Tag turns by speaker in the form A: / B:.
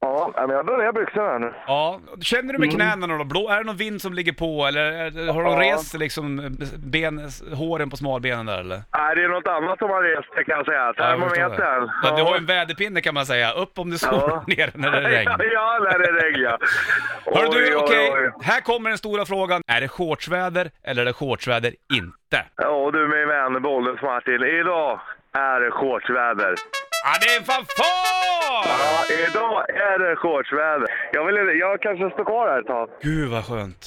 A: Ja, men jag drar ner byxorna nu.
B: Ja, känner du med knäna då? Blå, är det någon vind som ligger på eller är- har de
A: Mm. Ja.
B: rest liksom ben, håren på smalbenen där eller?
A: Nej, det är något annat som har rest det kan jag säga.
B: jag förstår det.
A: Termometern.
B: Ja, du har ju en väderpinne kan man säga. Upp om det står,
A: Ja.
B: ner när det är regn.
A: ja, när det är regn ja.
B: Hörru
A: Oj,
B: du,
A: oj,
B: okej.
A: oj.
B: Här kommer den stora frågan. Är det shortsväder eller är det shortsväder inte?
A: Ja, du min vän Bollnäs Martin. Idag är det shortsväder.
B: Ja, det är en fanfar!
A: Ja, idag är det shortsväder. Jag, vill, jag kanske står kvar här ett tag.
B: Gud vad skönt.